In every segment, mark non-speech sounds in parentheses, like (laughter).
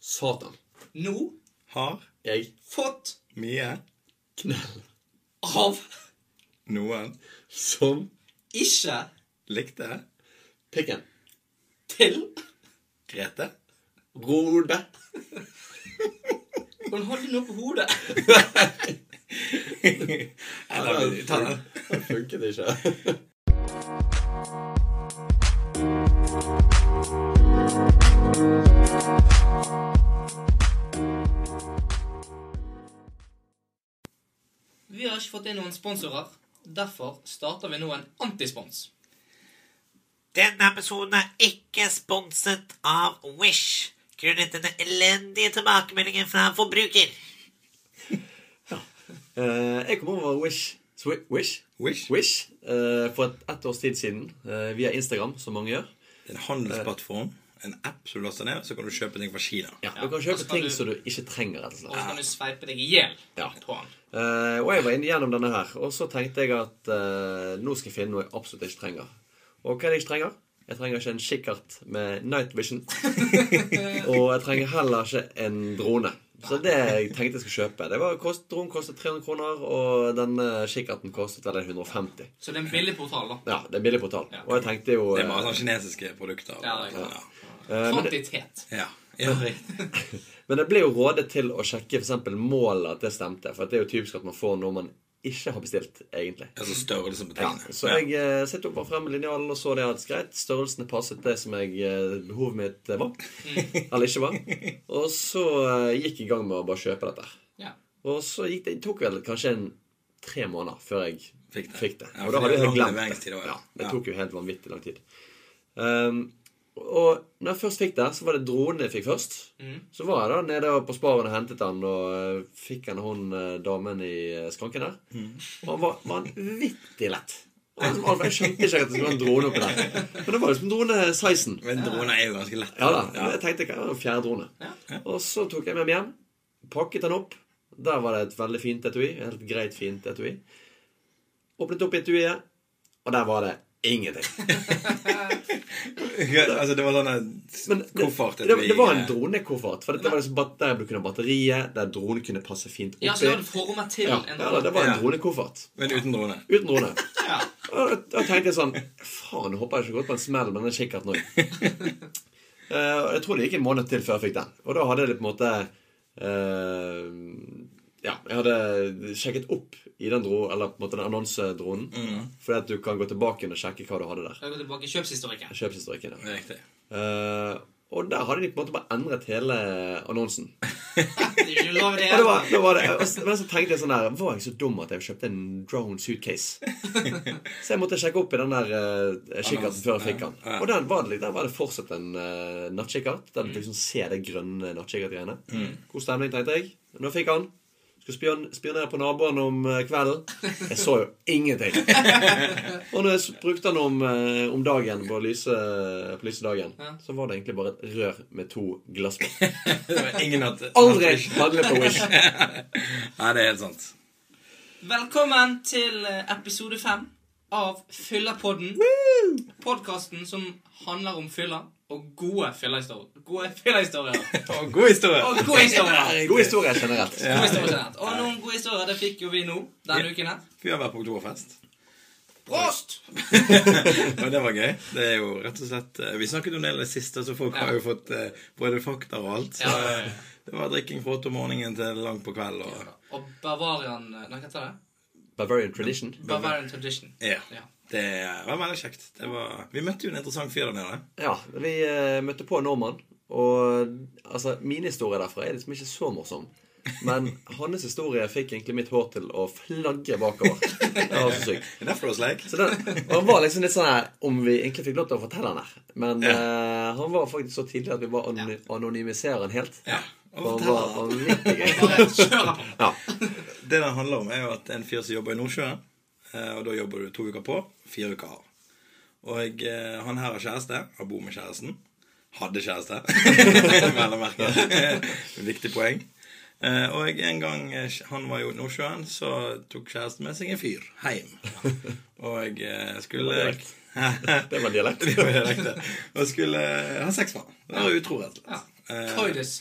Satan. Nå Har Jeg fått mye knell av noen som ikke likte pikken. til Grete. Rode. Hun holder noe på hodet. Jeg lar vi ta den. Det funket ikke. Vi har ikke fått inn noen sponsorer. Derfor starter vi nå en antispons. Denne episoden er ikke sponset av Wish grunnet denne elendige tilbakemeldingen fra en forbruker. Eh, jeg kom over Wish. Swi- Wish? Wish. Wish eh, for et, ett års tid siden eh, via Instagram, som mange gjør. En handelsplattform. En app som du laster ned, så kan du kjøpe ting fra Kina. Du kan kjøpe og så Altså, kan ting du- som du ikke trenger. rett og Og slett. så kan du sveipe deg i hjel Ja. på den. Eh, og jeg var inne gjennom denne her, og så tenkte jeg at eh, nå skal jeg finne noe jeg absolutt ikke trenger. Og hva er det jeg ikke trenger? Jeg trenger ikke en kikkert med night vision. (laughs) og jeg trenger heller ikke en drone. Så det jeg tenkte jeg skulle kjøpe det var, kost, Dronen kostet 300 kroner, og denne kikkerten kostet vel 150. Så det er en billig portal, da. Ja, det er billig portal. Og jeg tenkte jo Det er eh, bare sånne kinesiske produkter. Ja, det er ja. Kvantitet. ja. ja riktig. Men jeg ble jo rådet til å sjekke for eksempel målet at det stemte. For at det er jo typisk at man får noe man ikke har bestilt, egentlig. Altså størrelsen på Ja, tingene. så jeg eh, satte opp bare frem linjalen og så det at greit, størrelsene passet det som jeg, eh, behovet mitt eh, var. Eller ikke var. Og så eh, gikk jeg i gang med å bare kjøpe dette. her. Ja. Og så gikk det, det tok vel kanskje en tre måneder før jeg Fikk det. Ja, Og for da hadde jeg det er lang helt glemt leveringstid det. også, ja. Ja, det Ja. tok jo helt vanvittig lang tid. Um, og når jeg først fikk det, så var det dronen jeg fikk først. Mm. Så var jeg da nede på Sparen og hentet den, og eh, fikk han hun eh, damen i eh, skranken der. Mm. Og han var vanvittig lett. Og liksom, alt- Jeg skjønte ikke at det skulle være en drone oppi der. Men det var liksom drone-sizen. Men droner er jo ganske lett. Ja da. Jeg tenkte hva er en fjerdrone? Og så tok jeg med meg hjem, pakket den opp. Der var det et veldig fint etui. et Helt greit fint etui. Åpnet opp etuiet, og der var det ingenting. (laughs) Ja, (laughs) altså, det var sånn en Men det, koffert det, det, var eh. en dronekoffert. For dette var liksom bat- der du kunne ha batteriet, der dronen kunne passe fint oppi. ja, så du hadde formet til Ja, en ja, da, det var en Ja. dronekoffert. Men uten drone. Uten drone. Ja. Og Da tenkte jeg sånn Faen, jeg håper jeg ikke har gått på en smell med den kikkerten òg. Eh, jeg tror det gikk en måned til før jeg fikk den. Og da hadde jeg det på en måte eh, Ja, jeg hadde sjekket opp i den dro, eller på en måte den annonsedronen. Fordi at du kan gå tilbake igjen og sjekke hva du hadde der. Jeg går tilbake i kjøpshistorikken. Kjøpshistorikken. Ja. Det er Riktig. (laughs) Eh, og der hadde de på en måte bare endret hele annonsen. Det er ikke lov, det. Og det var, da var det, og s- men så tenkte jeg sånn der Var jeg så dum at jeg kjøpte en drone suitcase? Så jeg måtte sjekke opp i den der eh, kikkerten før jeg fikk den. Og den var det, der var det fortsatt en uh, nattkikkert. Der du liksom ser det grønne nattkikkert-greiene. God stemning, tenkte jeg. Nå fikk han. Skulle spion- spionere på naboen om eh, kvelden. Jeg så jo ingenting. Og når jeg s- brukte den om, eh, om dagen, på, lyse, på lyse dagen, så var det egentlig bare et rør med to glass på. Det var ingen at Aldri handle på Wish. Nei, det er helt sant. Velkommen til eh, episode fem av Fyllerpodden. Podkasten som handler om fylla og gode fyllehistorier. Gode fyllehistorier. Og god historie. Og gode historier. God historie generelt. Gode historier. sant? Og noen gode historier det fikk jo vi nå denne uken her. Vi har vært på oktoberfest. Prost! Og det var gøy. Det er jo rett og slett eh, Vi snakket om det i det siste, så folk har jo fått eh, både fakta og alt. Så Ja, ja, ja. eh, det var drikking fra åtte om morgenen til langt på kveld. Og Og Bavarian eh, Nei, hva heter det? Bavarian tradition. Bavarian Tradition. ja. Ja. Det var veldig kjekt. Det var, vi møtte jo en interessant fyr der nede. Ja, vi eh, møtte på en nordmann, og altså, min historie derfra er liksom ikke så morsom. Men hans historie fikk egentlig mitt hår til å flagge bakover. Det var så sykt. Det er derfor det var sleik. Så den, og han var liksom litt sånn her om vi egentlig fikk lov til å fortelle han her. Men eh, han var faktisk så tidlig at vi bare an anonymiserer han helt. Ja. Og Og han var fortell, vanvittig gøy. Bare (laughs) kjører på. Ja. det det handler om, er jo at det er en fyr som jobber i Nordsjøen. eh, Og da jobber du to uker på, fire uker av. Og eh, han her har kjæreste. Han bor med kjæresten. Hadde kjæreste. (laughs) Vel å merke. (laughs) Viktig poeng. Eh, Og en gang eh, han var jo i Nordsjøen, så tok kjæresten med seg en fyr hjem. Og eh, skulle (laughs) Det Det var dialekt. eh, Det var dialekt, det. Og skulle ha sex med han. Han var utro, rett og Ja. slett. Eh, Croydus.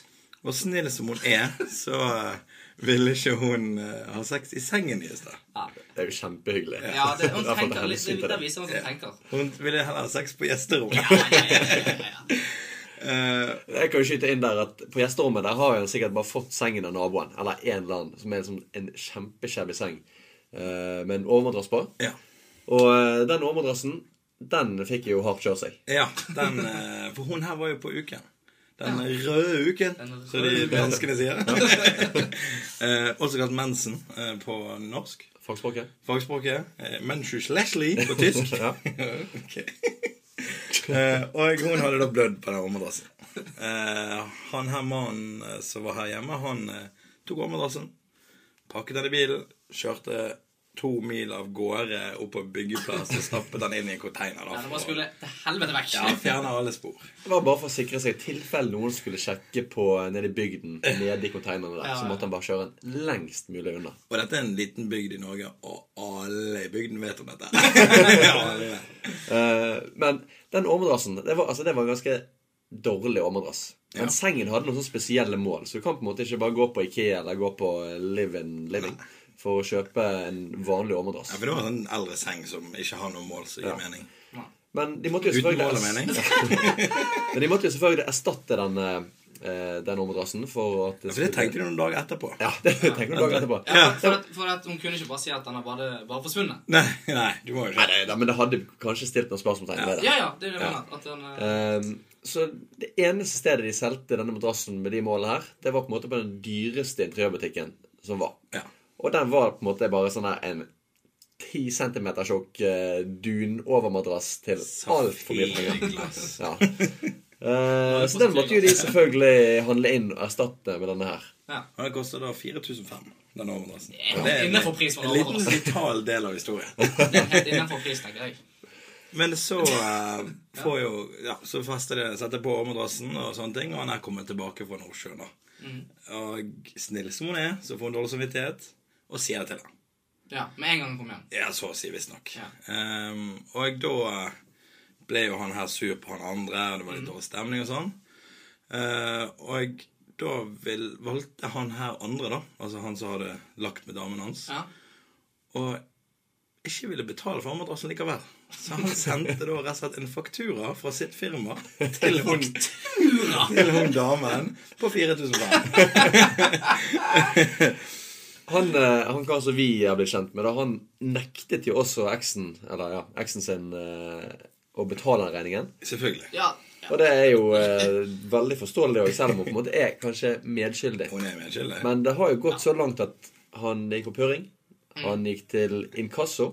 Og snill som hun er, så eh, ville ikke hun eh, ha sex i sengen i sted. Ja. Det er jo kjempehyggelig. Ja, det, (laughs) hun I hvert fall tenker litt, hensyn det, til det det. viser hun som tenker. Hun ville heller ha sex på gjesterommet. Ja, ja, ja, ja, ja, ja. Eh, Jeg kan jo skyte inn der at På gjesterommet der har han sikkert bare fått sengen av naboen. Eller en eller annen som er som en kjempeskjevig seng eh, med en overmadrass på. (laughs) ja. Og eh, den overmadrassen, den fikk jo hardt kjør seg. ja den, eh, for hun her var jo på uken. Den røde uken, Den som de røde- danskene (laughs) sier. Eh, også kalt mensen eh, på norsk. Fagspråket. fagspråket. Eh, Menschus Leslie på tysk. (laughs) Ja. Ok. (laughs) Eh, og hun hadde da blødd på den overmadrassen. Eh, han her mannen eh, som var her hjemme, han eh, tok overmadrassen, pakket den i bilen, kjørte to mil av gårde opp på en byggeplass og stappet den inn i en container. Ja, det bare da, for å- skulle til helvete vekk. Ja, fjerne alle spor. Det var bare for å sikre seg i tilfelle noen skulle sjekke på eh, nede i bygden. Nede i konteinerne der Ja, ja. Så måtte han bare kjøre den lengst mulig unna. Og dette er en liten bygd i Norge, og alle i bygden vet om dette. (laughs) alle. Eh, men den overmadrassen det var, altså, det var en ganske dårlig overmadrass. Men Ja. sengen hadde noen sånne spesielle mål, så du kan på en måte ikke bare gå på Ikea eller gå på Live-in Living for å kjøpe en vanlig overmadrass. Ja, for det var en sånn eldre seng som ikke har noe mål som gir mening. Men de måtte jo Uten selvfølgelig mål og mening. Men de måtte jo selvfølgelig erstatte den, eh, den overmadrassen for at Ja, for det tenkte de noen dager etterpå. Ja, (laughs) det tenker du dagen etterpå. Ja, for, for, at, for at hun kunne ikke bare si at den har bare, bare forsvunnet. Nei, nei, du må Nei, jo ikke. nei, nei, men det hadde kanskje stilt noen spørsmålstegn ved det. Ja, ja, det er det jeg mener. At den, eh, Ehm, så det eneste stedet de solgte denne madrassen med de målene her, det var på en måte på den dyreste interiørbutikken som var. Ja. Og den var på en måte bare sånn her en 10 cm tjukk eh, dunovermadrass til altfor mye penger. Papirglass. Ja. Eh, så den måtte jo de selvfølgelig handle inn og erstatte med denne her. ja. Og det koster da 4500, den overmadrassen. Ja, Og det er en- innenfor pris for En liten overmadrass. vital del av (laughs) historien. Det er helt innenfor pris, tenker jeg. Men så eh, får jo Ja, så fester det setter på overmadrassen og sånne ting, og han her kommer tilbake fra Nordsjøen, da. Mm. Og snill som hun er, så får hun dårlig samvittighet, og sier det til ham. Ja, Med en gang hun kom hjem. Ja, så å si, visstnok. Ja. Ehm, og da ble jo han her sur på han andre, og det var Mm. litt dårlig stemning og sånn. Eh, og da vil, valgte han her andre, da, altså han som hadde lagt med damen hans, Ja. og ikke ville betale for armadrassen likevel. Så han sendte da rett og slett en faktura fra sitt firma til hun, til hun damen på 4500. Han, eh, han karen som vi har blitt kjent med, da, han nektet jo også eksen, eller ja, eksen sin eh, å betale den regningen. Selvfølgelig. Ja, ja. Og det er jo eh, veldig forståelig òg, selv om hun på en måte er kanskje medskyldig. Hun er medskyldig. Men det har jo gått så langt at han gikk på pøring. Mm. Han gikk til inkasso.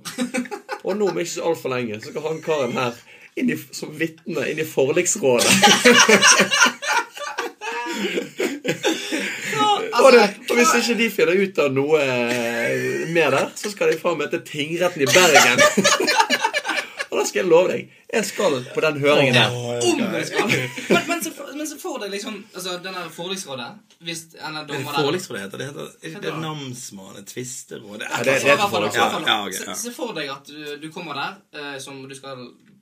Og nå om ikke så altfor lenge så skal han karen her inn i, som vitne inn i (laughs) forliksrådet. Altså, Altså, Og, det, og hvis ikke de finner ut av noe eh, mer der, så skal de faen møte tingretten i Bergen. (laughs) Og da skal jeg love deg, jeg skal på den høringen der. Om du skal! Men, men, så, for- men så får det liksom Altså, den der forliksrådet Hvis en av Er det dommerne forliksråd det heter? Det heter ikke det er namsmannen, tvisteråd det er- det- Så i hvert fall, det er så i hvert fall, Ja, ja, ok, se- ja. Se for deg at du, du kommer der, eh, som du skal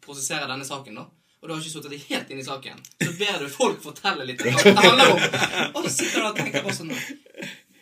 prosessere denne saken, da. Og du har ikke suttet deg helt inn i saken. Så ber du folk fortelle (laughs) litt om hva det handler om. Og så sitter du og tenker bare sånn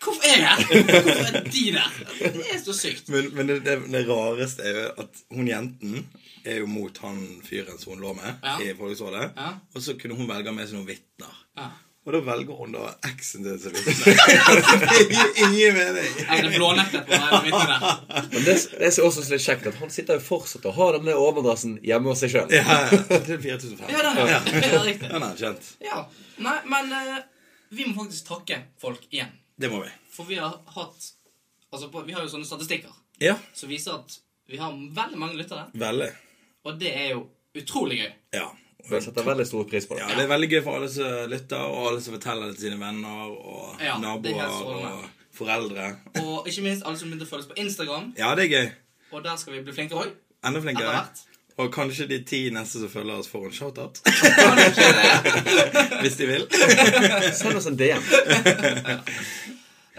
Hvorfor er jeg her? Hvorfor er de der? Det er så sykt. Men, men det, det, det rareste er jo at hun jenten er jo mot han fyren som hun lå med Ja. i Folkesrådet. Ja. Og så kunne hun velge med seg noen vitner. Ja. Og da velger hun da eksen sin som vitne. (laughs) det gir ingen mening! Jeg ble blånektet på det vitnet der. Men det, det er også litt kjekt at han sitter jo fortsatt og har denne overmadrassen hjemme hos seg sjøl. Ja, det er 4500. Ja, den er, den er riktig. Den er kjent. Ja. Nei, men eh, vi må faktisk takke folk igjen. Det må vi. For vi har hatt Altså, på, vi har jo sånne statistikker Ja. som viser at vi har veldig mange lyttere. Veldig. Og det er jo utrolig gøy. Ja. Jeg setter veldig stor pris på det. ja. Det er veldig gøy for alle som lytter, og alle som forteller det til sine venner Ja, og det er helt naboer strålende. og foreldre. Og ikke minst alle som begynte å følge oss på Instagram. Ja, det er gøy. Og der skal vi bli flinkere òg. Enda Etter flinkere. hvert. Og kanskje de ti neste som følger oss, får en shoutout. (laughs) (laughs) Hvis de vil. Send oss en DM.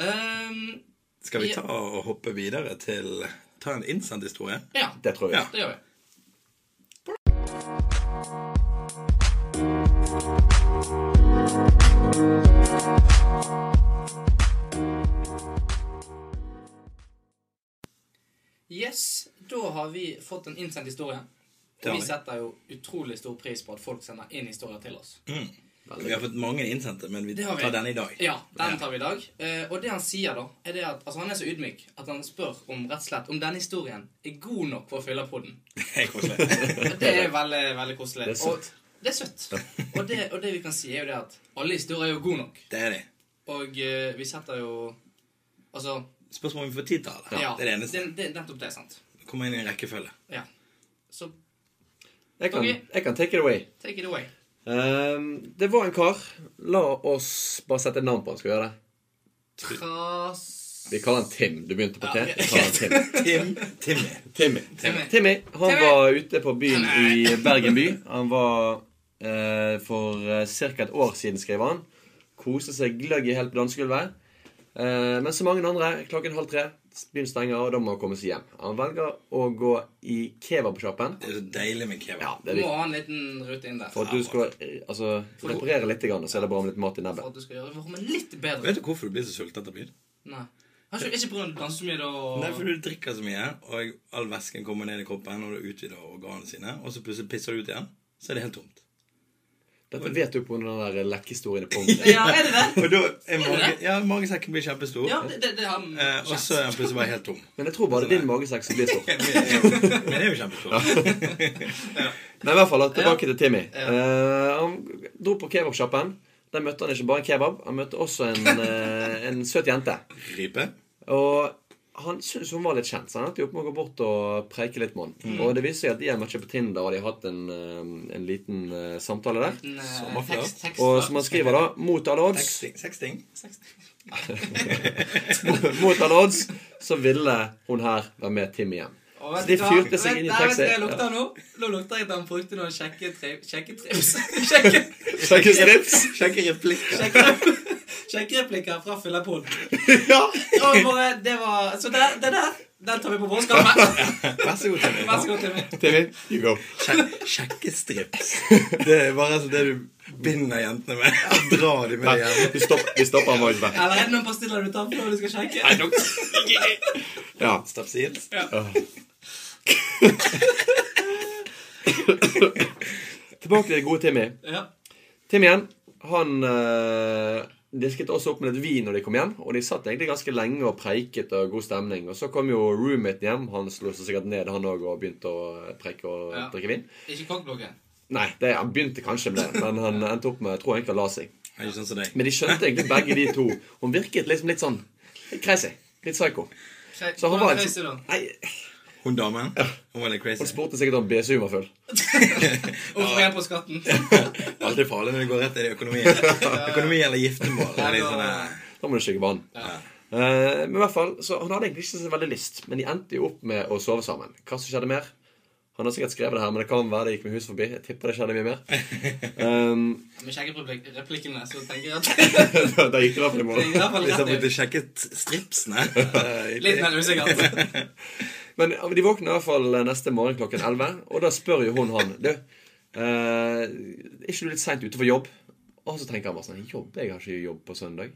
Ehm, Skal vi ta og hoppe videre til Ta en innsendt historie? ja, Det tror jeg. Ja. det gjør vi. Yes, da har vi fått en innsendt historie. Det har Og vi vi. setter jo utrolig stor pris på at folk sender inn historier til oss. Vi har fått mange innsendte, men vi Det har vi. tar denne Mm. i dag. Ja, den tar vi i dag. Eh, og det han sier, da, er det at altså, han er så ydmyk at han spør om rett og slett om denne historien er god nok for å fylle på den. Jeg (laughs) koser meg. Det er veldig, veldig koselig. Det er søtt. Og, det er søtt. (laughs) Og, det, og det vi kan si, er jo det at alle historier er jo gode nok. Det er det. Og eh, vi setter jo Altså, Spørsmålet om vi får tid til det. ja. Det er det eneste. Det, er nettopp det, sant. Kommer inn i en rekkefølge. Ja. Så Jeg kan, Ok. jeg kan take it away. take it away. Ehm, det var en kar. La oss bare sette et navn på han. Skal vi gjøre det? Tras... Vi kaller han Tim. Du begynte på T. Ja, Vi kaller han Tim. Tim. (laughs) Timmy. Timmy. Timmy. Timmy, han Timmy. var ute på byen i Bergen by. Han var eh, for ca. et år siden, skrev han. Koste seg gløgg i helt på dansegulvet. Eh, men som mange andre, klokken halv tre byen stenger, og da må han komme seg hjem. Han velger å gå i kebabsjappen. Det er så deilig med kebab. Ja, det er Må viktig. ha en liten rute inn der. For at du skal eh, altså, reparere litt, grann, så er det bra med litt mat i For nebbet. at du skal gjøre rommet litt bedre. Vet du hvorfor du blir så sulten etter byen? Nei. Har ikke, er ikke på grunn av at du danser så mye, da? Nei, for du drikker så mye, og all væsken kommer ned i kroppen, og du utvider organene sine, og så plutselig pisser du ut igjen. Så er det helt tomt. Dette vet du på grunn av den der (laughs) lekkehistorien på ungdommen. Ja, er (laughs) det det? Og da er mage, ja, magesekken blir kjempestor, Ja, det, det, det har eh, og så er den plutselig bare (laughs) helt tom. Men jeg tror bare det er din magesekk som blir stor. Men det er jo- men det er jo kjempestor. Men i hvert fall, da, tilbake Ja. til Timmy. Eh, han dro på kebabsjappen. Der møtte han ikke bare en kebab, han møtte også en, (laughs) eh, en søt jente. Ripe. Og han syntes hun var litt kjent, så han endte jo opp med å gå bort og preike litt med Mm. henne. Og det viser seg at de har matchet på Tinder, og de har hatt en, eh, en liten eh, samtale der. Mm. Sommerflørt. Tekst, tekst, Og som han skriver, da, mot alle odds Sexting. Sexting. (laughs) Mot alle odds så ville hun her være med Timmy hjem. Og vet Så de du hva? fyrte seg Vent, inn i nei, vet du hva jeg taxi. (laughs) lukter nå? Nå lukter jeg at han brukte noen kjekke tri- kjekke trips. (laughs) Kjekke- Sjekke strips! Sjekke replikker. kjekke- Kjekke replikker fra Fillerpod. Ja! Det var Så det, det der, den tar vi på vår skamme. Vær så god, Timmy. Vær så god, Timmy. Timmy, you go. Sjek- Sjekkestrips. Det er bare altså det du binder jentene med. (laughs) Drar de med deg hjem. Vi stopper, vi stopper han faktisk der. Eller er det noen pastiller du tar før du skal sjekke? Ja. Strepsils. Tilbake til det gode Timmy. Ja. Tim igjen, han eh, disket også opp med litt vin når de kom hjem, og de satt egentlig ganske lenge og preiket og god stemning. Og så kom jo roommaten hjem, han slo seg sikkert ned han òg og begynte å eh, preike og Ja. drikke vin. Ikke kokkblokken. Nei, det, han begynte kanskje med det, men han endte opp med jeg tror egentlig han la seg. Er ikke sånn som deg. Men de skjønte egentlig begge de to. Hun virket liksom litt sånn litt crazy. Litt psycho. Så han var Crazy, da. en, sånn- nei, Hun damen? Hun var litt Hun crazy. spurte sikkert om BSU var full. Og får igjen på skatten. Alt er farlig når det går rett inn i (laughs) økonomien. Økonomi eller giftermål. Det er litt sånn eh, Da må du skygge banen. Ja. Eh, men i hvert fall, så Han hadde egentlig ikke så veldig lyst, men de endte jo opp med å sove sammen. Hva som skjedde mer? Han har sikkert skrevet det her, men det kan være det gikk med hus forbi. Jeg tipper det skjedde mye mer. (laughs) Um, Med kjekkereplikkene så tenker jeg at da gikk det i hvert fall i det er i morgen. hvert fall Hvis jeg rett måtte ut. sjekket stripsene Litt mer usikkert. Men ja, de våkner i hvert fall eh, neste morgen klokken 11, og da spør jo hun han Du, eh, er ikke du litt seint ute for jobb? Og så tenker han bare sånn Jobb? Jeg har ikke jobb på (laughs) søndag.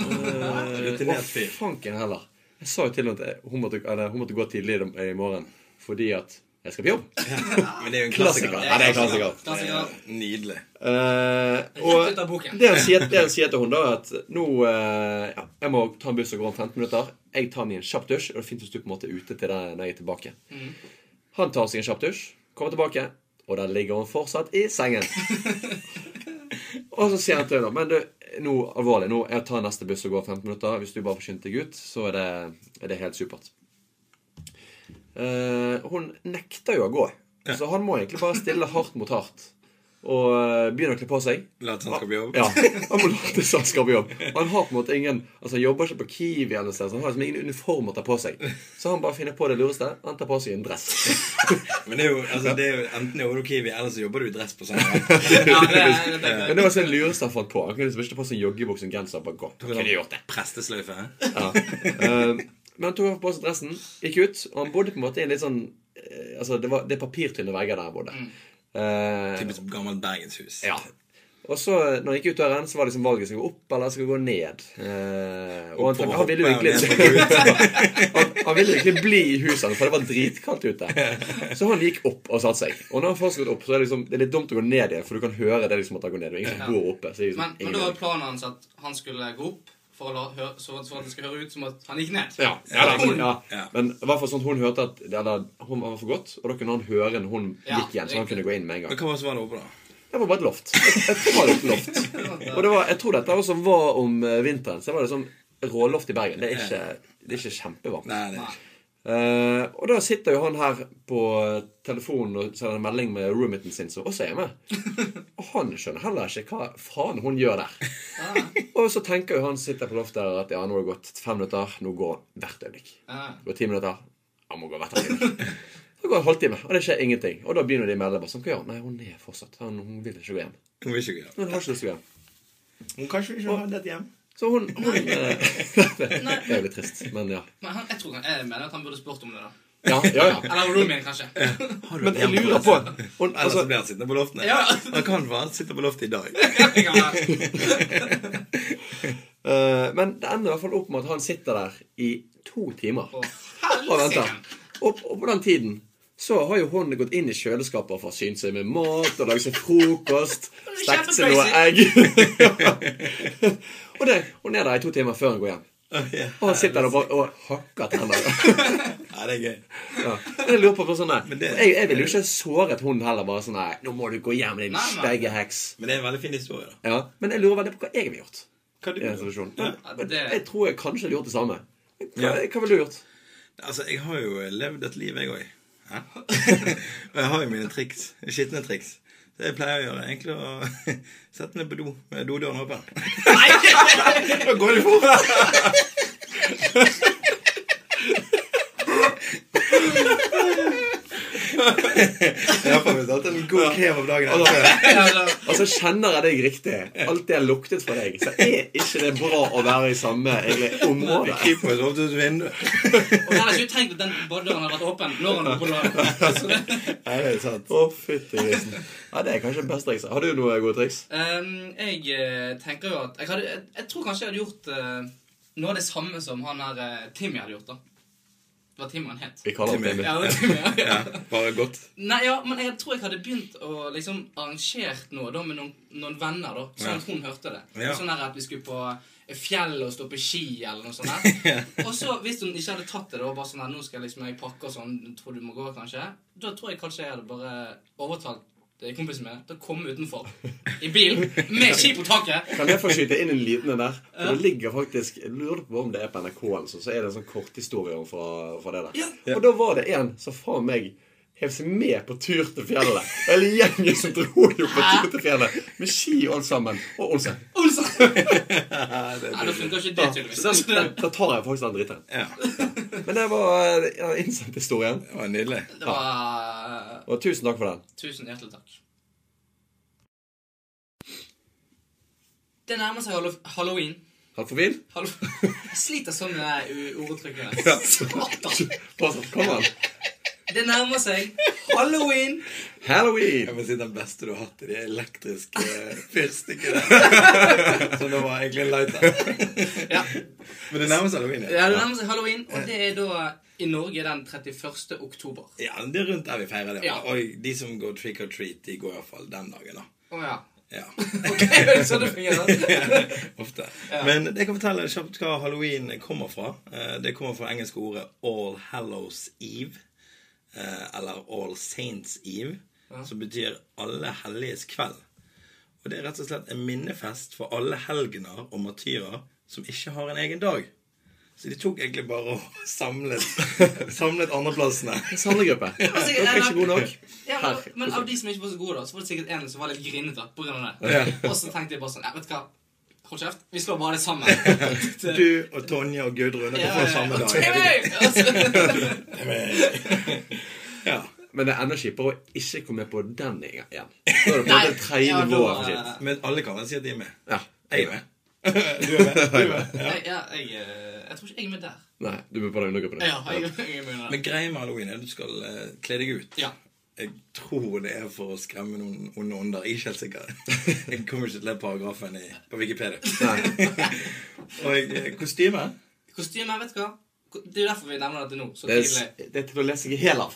Eh, Rutinert Å, fyr. fanken heller. Jeg sa jo til henne at jeg- hun måtte, eller, hun måtte gå tidlig i i morgen fordi at jeg skal på jobb. Men det er jo en Klassiker. klassiker. Ja, det er klassiker. Klassiker. Nydelig. Eh, Rett ut av og boken. det han sier, det han sier til henne, da, er at nå eh, ja, Jeg må ta en buss og gå om 15 minutter. Jeg tar meg en kjapp dusj, og det er fint hvis du på en måte er ute til deg når jeg er tilbake. Han tar seg en kjapp dusj, kommer tilbake, og der ligger hun fortsatt i sengen. og så sier han til henne Men du, nå alvorlig, nå jeg tar neste buss og går om 15 minutter. Hvis du bare forskynder deg ut, så er det, er det helt supert. Eh, hun nekter jo å gå, så han må egentlig bare stille hardt mot hardt. Og eh, begynne å kle på seg. Late som han skal på jobb. Ja, Han må late som han skal på jobb. Han har på en måte ingen Altså han jobber ikke på Kiwi, eller noe sted, så han har liksom ingen uniform å ta på seg. Så han bare finner på det lureste. Han tar på seg en (laughs) dress. Men det er jo, altså, det er jo enten jobber du Kiwi, eller så jobber du i dress på sånn. (laughs) måte. Ja, det er- det tenker Men jeg. det var altså det lureste han fant på. Han kunne liksom ikke ta på seg en joggebukse og en genser. og Bare gå. Han Kunne gjort det. Prestesløyfe. Ja. Eh, men han tok på seg dressen, gikk ut, og han bodde på en måte i en litt sånn Mm. eh, Altså det, var, det er papirtynne vegger der han bodde. Eh, Typisk gammelt bergenshus. Ja. Og så, når jeg gikk ut døren, så var liksom valget skal jeg gå opp eller skal jeg gå ned. Eh, og han, Opp og tenkte- han ville jo hoppe, egentlig (laughs) han, han ville jo egentlig bli i huset, for det var dritkaldt ute. Så han gikk opp og satte seg. Og når han først har gått opp, så er det liksom Det er litt dumt å gå ned igjen, for du kan høre det liksom at han går ned. Og ingen som går oppe. Så det er liksom Men, men ingen- da var planen hans at han skulle gå opp, for, å la, høre, så, så at det skulle høre ut som at han gikk ned. Ja, Ja, ja, hun- ja. ja. Men i hvert fall sånn at hun hørte at eller, hun var for godt, og da kunne han høre når hun Ja, gikk igjen, så han riktig. kunne gå inn med en gang. Men hva var det som var der oppe, da? Det var bare et loft. Et, et privat loft. Og det var, jeg tror dette også var om eh, vinteren. Så det var det sånn råloft i Bergen. Det er ikke, det er ikke kjempevarmt. Nei, det er Nei. ikke. Eh, og da sitter jo han her på telefonen og sender en melding med roommaten sin, som også er med. Og han skjønner heller ikke hva faen hun gjør der. Og så tenker jo han som sitter på loftet der, at ja, nå har det gått fem minutter. Nå går han hvert øyeblikk. Ja. Det går ti minutter. Han må gå hvert halvtime. Så går en halvtime, og det skjer ingenting. Og da begynner de å melde. bare sånn, Hva gjør hun? Nei, hun er fortsatt han, Hun vil ikke gå hjem. Hun vil ikke gjøre det. Hun har ikke lyst til å gå hjem. Hun kanskje ikke har dette hjem. Så hun, (laughs) hun eh, (laughs) Det er jo litt trist, men ja. Men han, jeg tror han, jeg mener at han burde spurt om det, da. Ja, ja, ja. Eller roomien, kanskje. (laughs) Men jeg lurer på hun, Ellers altså, så blir han sittende på loftet. Ja. Han kan bare sitte på loftet i (laughs) dag. Ja. eh, Men det ender i hvert fall opp med at han sitter der i to timer Og og venter. helsike! Og, og på den tiden så har jo hun gått inn i kjøleskapet for å forsyne seg med mat og lage seg frokost. Stekt seg noe egg. (laughs) og det, hun er der i to timer før hun går hjem. ja. Og han sitter der og, bare, og hakker tenner. (laughs) ja, det er gøy. Ja. Men Jeg lurer på, på sånn der. Men det- jeg, jeg ville jo ikke såret hun heller. Bare sånn Nei, 'Nå må du gå hjem, din Nei, nei. steggeheks'. Men det er en veldig fin historie, da. Ja. Men jeg lurer veldig på hva jeg ville gjort. Hva I du den situasjonen Ja. Men- men det- Jeg tror jeg kanskje hadde gjort det samme. Hva, Ja. hva ville du gjort? Altså, jeg har jo levd et liv, jeg òg. (laughs) Og jeg har jo mine triks. Skitne triks. Så jeg pleier å gjøre egentlig å (laughs) sette meg på do med dodøren åpen. (laughs) Da går det (laughs) fort! Iallfall hvis du har hatt en god krem om dagen. etter. Ja, da- Altså, Kjenner jeg deg riktig? Alt det jeg luktet fra deg, så er ikke det bra å være i samme egentlig, område. Keeper så ofte ut vinduet. Og ellers hadde ikke tenkt at den badedøren hadde vært åpen når han var på døren. (laughs) Så det- Nei, det er sant. Å, fytti grisen. Ja, det er kanskje det beste trikset. Har du noe gode triks? Ehm, jeg eh, tenker jo at jeg, hadde, jeg, jeg tror kanskje jeg hadde gjort eh, noe av det samme som han her eh, Timmy hadde gjort. da Det var Timmy han het. Vi kaller det Ja, det var Timmy, ja, ja. Ja, bare godt. Nei, ja, men jeg tror jeg hadde begynt å liksom arrangert noe da med noen, noen venner, da. Sånn at hun hørte det. Ja. Sånn her at vi skulle på fjell og stå på ski eller noe sånt. Der. Og så, hvis hun ikke hadde tatt det, da, og bare sånn her, nå skal liksom jeg pakke og sånn, tror du må gå, kanskje? Da tror jeg kanskje jeg hadde bare overtalt eh, kompisen min til å komme utenfor i bilen med ski (laughs) på taket. Kan jeg få skyte inn en liten en der? For det ligger faktisk, Jeg lurer på om det er på NRK, eller så, så er det en sånn korthistorie om fra, fra det der. Ja. Og da var det en som faen meg hev seg med på tur til fjellet. Hele gjengen som dro jo på tur til fjellet med ski alt sammen. Og Olsen. Olsen! Ja, det Nei, er da fint. funker ikke Ja, det, så tydeligvis. den, den, da tar jeg faktisk den dritten. Ja, Men det var eh, ja, innsendt historien. det var nydelig. Det var Og tusen takk for den. Tusen hjertelig takk. Det nærmer seg hallo- halloween. Halvforvil? Hallo jeg sliter sånn med de u- ordtrykkene. Satan. Fortsatt kommer den. Det nærmer seg halloween. Halloween! Jeg må si Den beste du har hatt i de elektriske eh, (laughs) fyrstikkene. Så det var egentlig en lighter. Ja, Men det nærmer seg halloween. ja, det nærmer seg halloween, og det er da i Norge den 31. oktober. Ja, men det er rundt der vi feirer det. Ja. Og de som går trick or treat, de går iallfall den dagen, da. Å ja. Ja, Ok, er det sånn det fungerer? (laughs) ofte. Men jeg kan fortelle kjapt hva halloween kommer fra. Eh, Det kommer fra engelske ordet All Hallows Eve. eh, Eller All Saints Eve, som betyr Alle helliges kveld. Og det er rett og slett en minnefest for alle helgener og martyrer som ikke har en egen dag. Så de tok egentlig bare og (laughs) samlet, samlet andreplassene. Samlegruppe. Dere er ikke gode nok. Ja, men, Her. men av de som ikke var så gode, da, så var det sikkert en som var litt grinete på grunn av det. Ja. Og så tenkte jeg bare sånn, ja, vet du hva, hold kjeft, vi slår bare det sammen. Det- Du og Tonje og Gudrun dere får samme Og dag. (laughs) TV! Altså, (laughs) Ja. Men det er enda kjipere å ikke komme på den igjen. Da (laughs) er det på Nei. det tredje Ja, da- nivået. for shit. Men alle kan vel si at de er med. Ja. Jeg er med. Du er med. Du er med. Ja. jeg, ja, jeg, eh, jeg tror ikke jeg er med der. Nei, du må på den undergruppen. Ja, jeg, jeg er med der. Men greia med halloween er at du skal eh, kle deg ut. Ja. Jeg tror det er for å skremme noen onde ånder. Jeg er ikke helt sikker. Jeg kommer ikke til den paragrafen i, på Wikipedia. Og eh, kostyme Kostyme, vet du hva? Det er jo derfor vi nevner dette nå. så Det er, tidlig. s- det er til å lese seg i hjel av.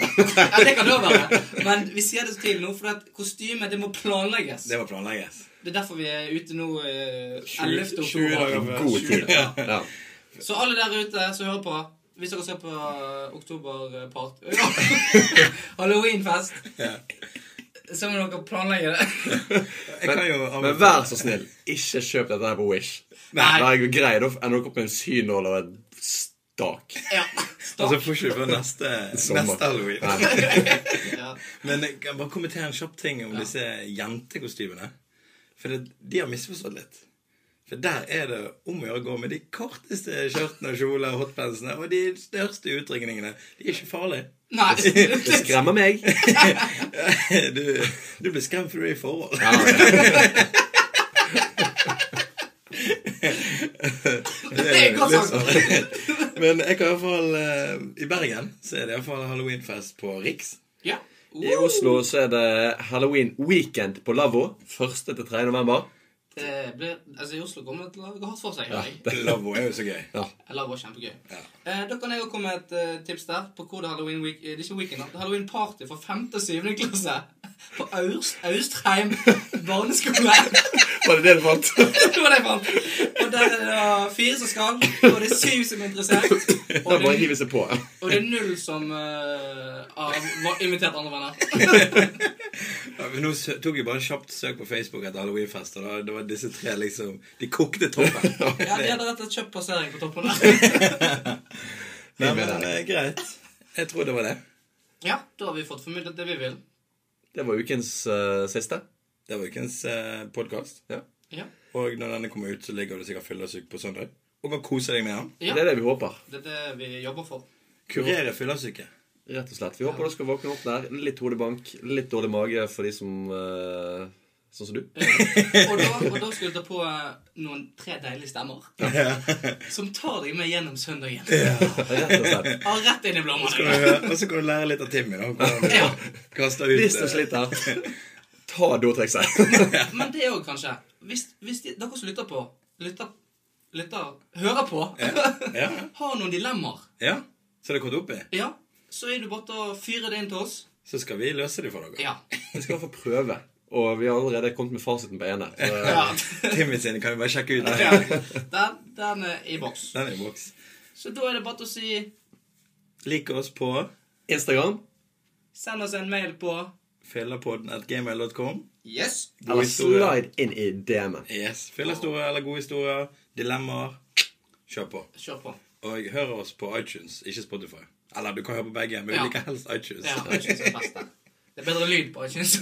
Ja, det kan det også være. Men vi sier det så tidlig nå, for at kostyme det må planlegges. Det var planlegges. Det er derfor vi er ute nå eh, 20 11. dager oktober. før. God tid. Ja. Ja. Så alle der ute som hører på Hvis dere skal på eh, (laughs) oktoberpart Halloweenfest, Ja. så må dere planlegge det. Jeg kan jo Men vær så snill, ikke kjøp dette her på Wish. Nei. Da er jeg grei, da ender dere opp med en synål og en stak. Ja. Og så Altså, Stopp. Altså, får ikke du før neste, (laughs) Sommer. neste halloween. Ja. Men jeg kan bare kommentere en kjapp ting om disse jentekostymene. For det, de har misforstått litt. For der er det om å gjøre å gå med de korteste skjørtene og kjolene og hotpantsene og de største utringningene. De er ikke farlige. (laughs) Nei. Det skremmer (laughs) meg. (laughs) Du, du blir skremt fordi du er i forhold. (laughs) Det er godt sagt. litt sånn. (laughs) Men jeg kan i hvert fall eh, I Bergen så er det i hvert fall halloweenfest på Riks. Ja. I Oslo så er det Halloween weekend på Lavvo. 1. til 3. november. Det blir, altså I Oslo kommer det til å gå hardt for seg. Ja. Lavvo er jo så gøy. Ja. Eller det var kjempegøy. Ja. Eh, da kan jeg jo komme med et eh, tips der på hvor det er halloween week, eh, det er ikke weekend, da. Det er halloween party for 5. og 7. klasse (laughs) på Aust, Austheim barneskole. Var det det du fant? (laughs) det var det jeg fant. Og der er det da fire som skal, og det er syv som er interessert. Da Og bare det, hive seg på. og det er null som eh, har var invitert andre venner. (laughs) Ja, men nå sø- tok jeg bare en kjapt søk på Facebook etter halloweenfest, og da det var disse tre liksom De kokte toppen. Ja, De hadde rett og slett kjøpt plassering på toppen der. (laughs) (laughs) Nei, men eh, greit. Jeg tror det var det. Ja, da har vi fått formidlet det vi vil. Det var ukens eh, siste. Det var ukens eh, podkast. Ja. Ja. Og når denne kommer ut, så ligger det sikkert fyllesyk på søndag. Og kan kose deg med den. ja. Det er det vi håper. Det er det vi jobber for. Kurere fyllesyke. Rett og slett. Vi håper du skal våkne opp der. Litt hodebank, litt dårlig mage for de som eh, Sånn som (laughs) du. Eh, Og da, og da skal du ta på eh, noen tre deilige stemmer. Som tar deg med gjennom søndagen. Rett og slett. Ja, rett inn i blomstene. Og så kan du lære litt av Timmy, da. Hvordan Ja. han kaster ut Hvis du eh, sliter, ta (laughs) Dortex-et. Men det òg, kanskje. Hvis, hvis de, dere som lytter på Lytter, lytter hører på, Ja. har noen dilemmaer, ja. Så det kom opp i. ja, så er det bare til å fyre det inn til oss. Så skal vi løse det for dere. Ja. Vi skal få prøve. Og vi har allerede kommet med fasiten på ene. Så, eh, ja. Timmy sine kan vi bare sjekke ut. (laughs) ja. Den, Den, den er i boks. den er i boks. Så da er det bare til å si Lik oss på Instagram Send oss en mail på fyllerpodden.gmail.com. Yes. eller slide inn i DM-en. Yes. Fyllehistorie eller gode historier, dilemmaer. Kjør på. Kjør på. Og hør oss på iTunes, ikke Spotify. Eller du kan høre på begge, men vi Ja. liker helst iTunes. Ja, jeg synes det er best, det. Det er bedre lyd på, jeg syns.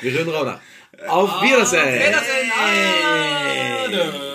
Vi runder av der. Auf Ah, Wiedersehen! Wiedersehen! Adø!